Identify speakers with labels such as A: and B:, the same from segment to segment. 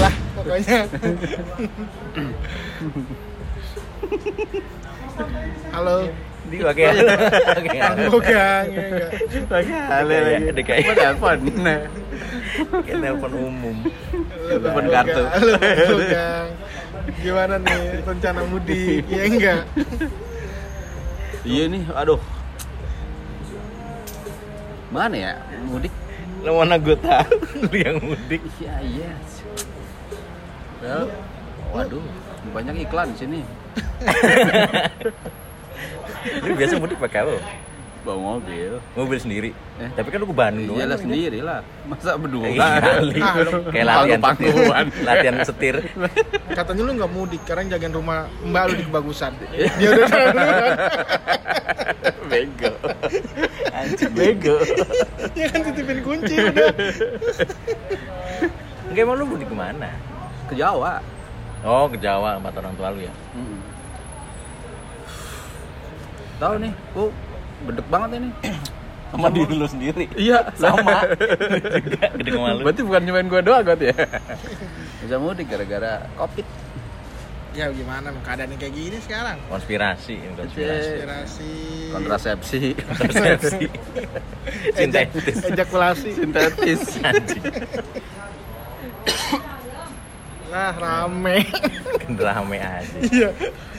A: banyak. Halo.
B: Di pakai halo. Pakai halo.
A: Moga, ya, enggak.
C: Lagi hale
B: Kayak-
C: lagi.
B: ada kayak-
C: Gua telepon. Nah.
B: Kayak telepon umum.
A: Halo,
C: Telepon
A: Bang
C: kartu.
A: Moga. Halo, Bang Moga. Gimana nih rencana mudik? Ya enggak.
C: Iya nih, aduh. Mana ya? Mudik.
B: Lo mana gue tahu lu yang mudik.
C: Iya, iya. Well, waduh, banyak iklan di sini.
B: Lu biasa mudik pakai apa?
C: Bawa mobil.
B: Mobil sendiri.
C: Eh.
B: Tapi kan lu ke Bandung.
C: Iyalah sendiri lah. Masa berdua?
B: Iya, kali.
A: Ah, lu-
B: Kayak latihan
C: Pangku-pangkuan.
B: setir. latihan setir.
A: Katanya lu nggak mudik, karena jagain rumah mbak lu di kebagusan. Dia udah jalan duluan.
C: Bego.
B: Anjing.
C: Bego.
A: Dia kan titipin kunci udah.
B: Enggak emang lu mudik kemana?
C: Ke Jawa.
B: Oh, ke Jawa sama orang tua lu ya.
C: Mm-mm. Tahu nih, gua bedek banget ini.
B: Sama diri lu sendiri.
C: Iya,
B: Sama. Juga gede sama lu.
C: Berarti bukan cuma gua doang berarti ya. Bisa mudik gara-gara Covid.
A: Ya gimana, emang keadaannya kayak gini sekarang.
B: Konspirasi, ini konspirasi.
A: Inspirasi.
C: Kontrasepsi
B: Konspirasi.
A: Ejak-
B: Sintetis.
A: Ejakulasi.
C: sintetis.
B: Anjing.
A: Nah, rame.
B: Rame aja.
A: Iya.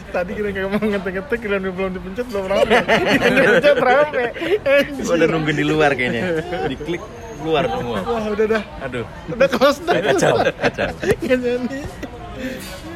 A: Tadi kita kayak mau ngetik-ngetik dan belum dipencet belum rame. Yang dipencet rame.
B: Gua
A: Anjir.
B: udah nungguin di luar kayaknya. Diklik keluar semua.
A: Wah, udah dah.
B: Aduh,
A: Udah close dah.
B: kacau, kacau.
A: Nggak jadi.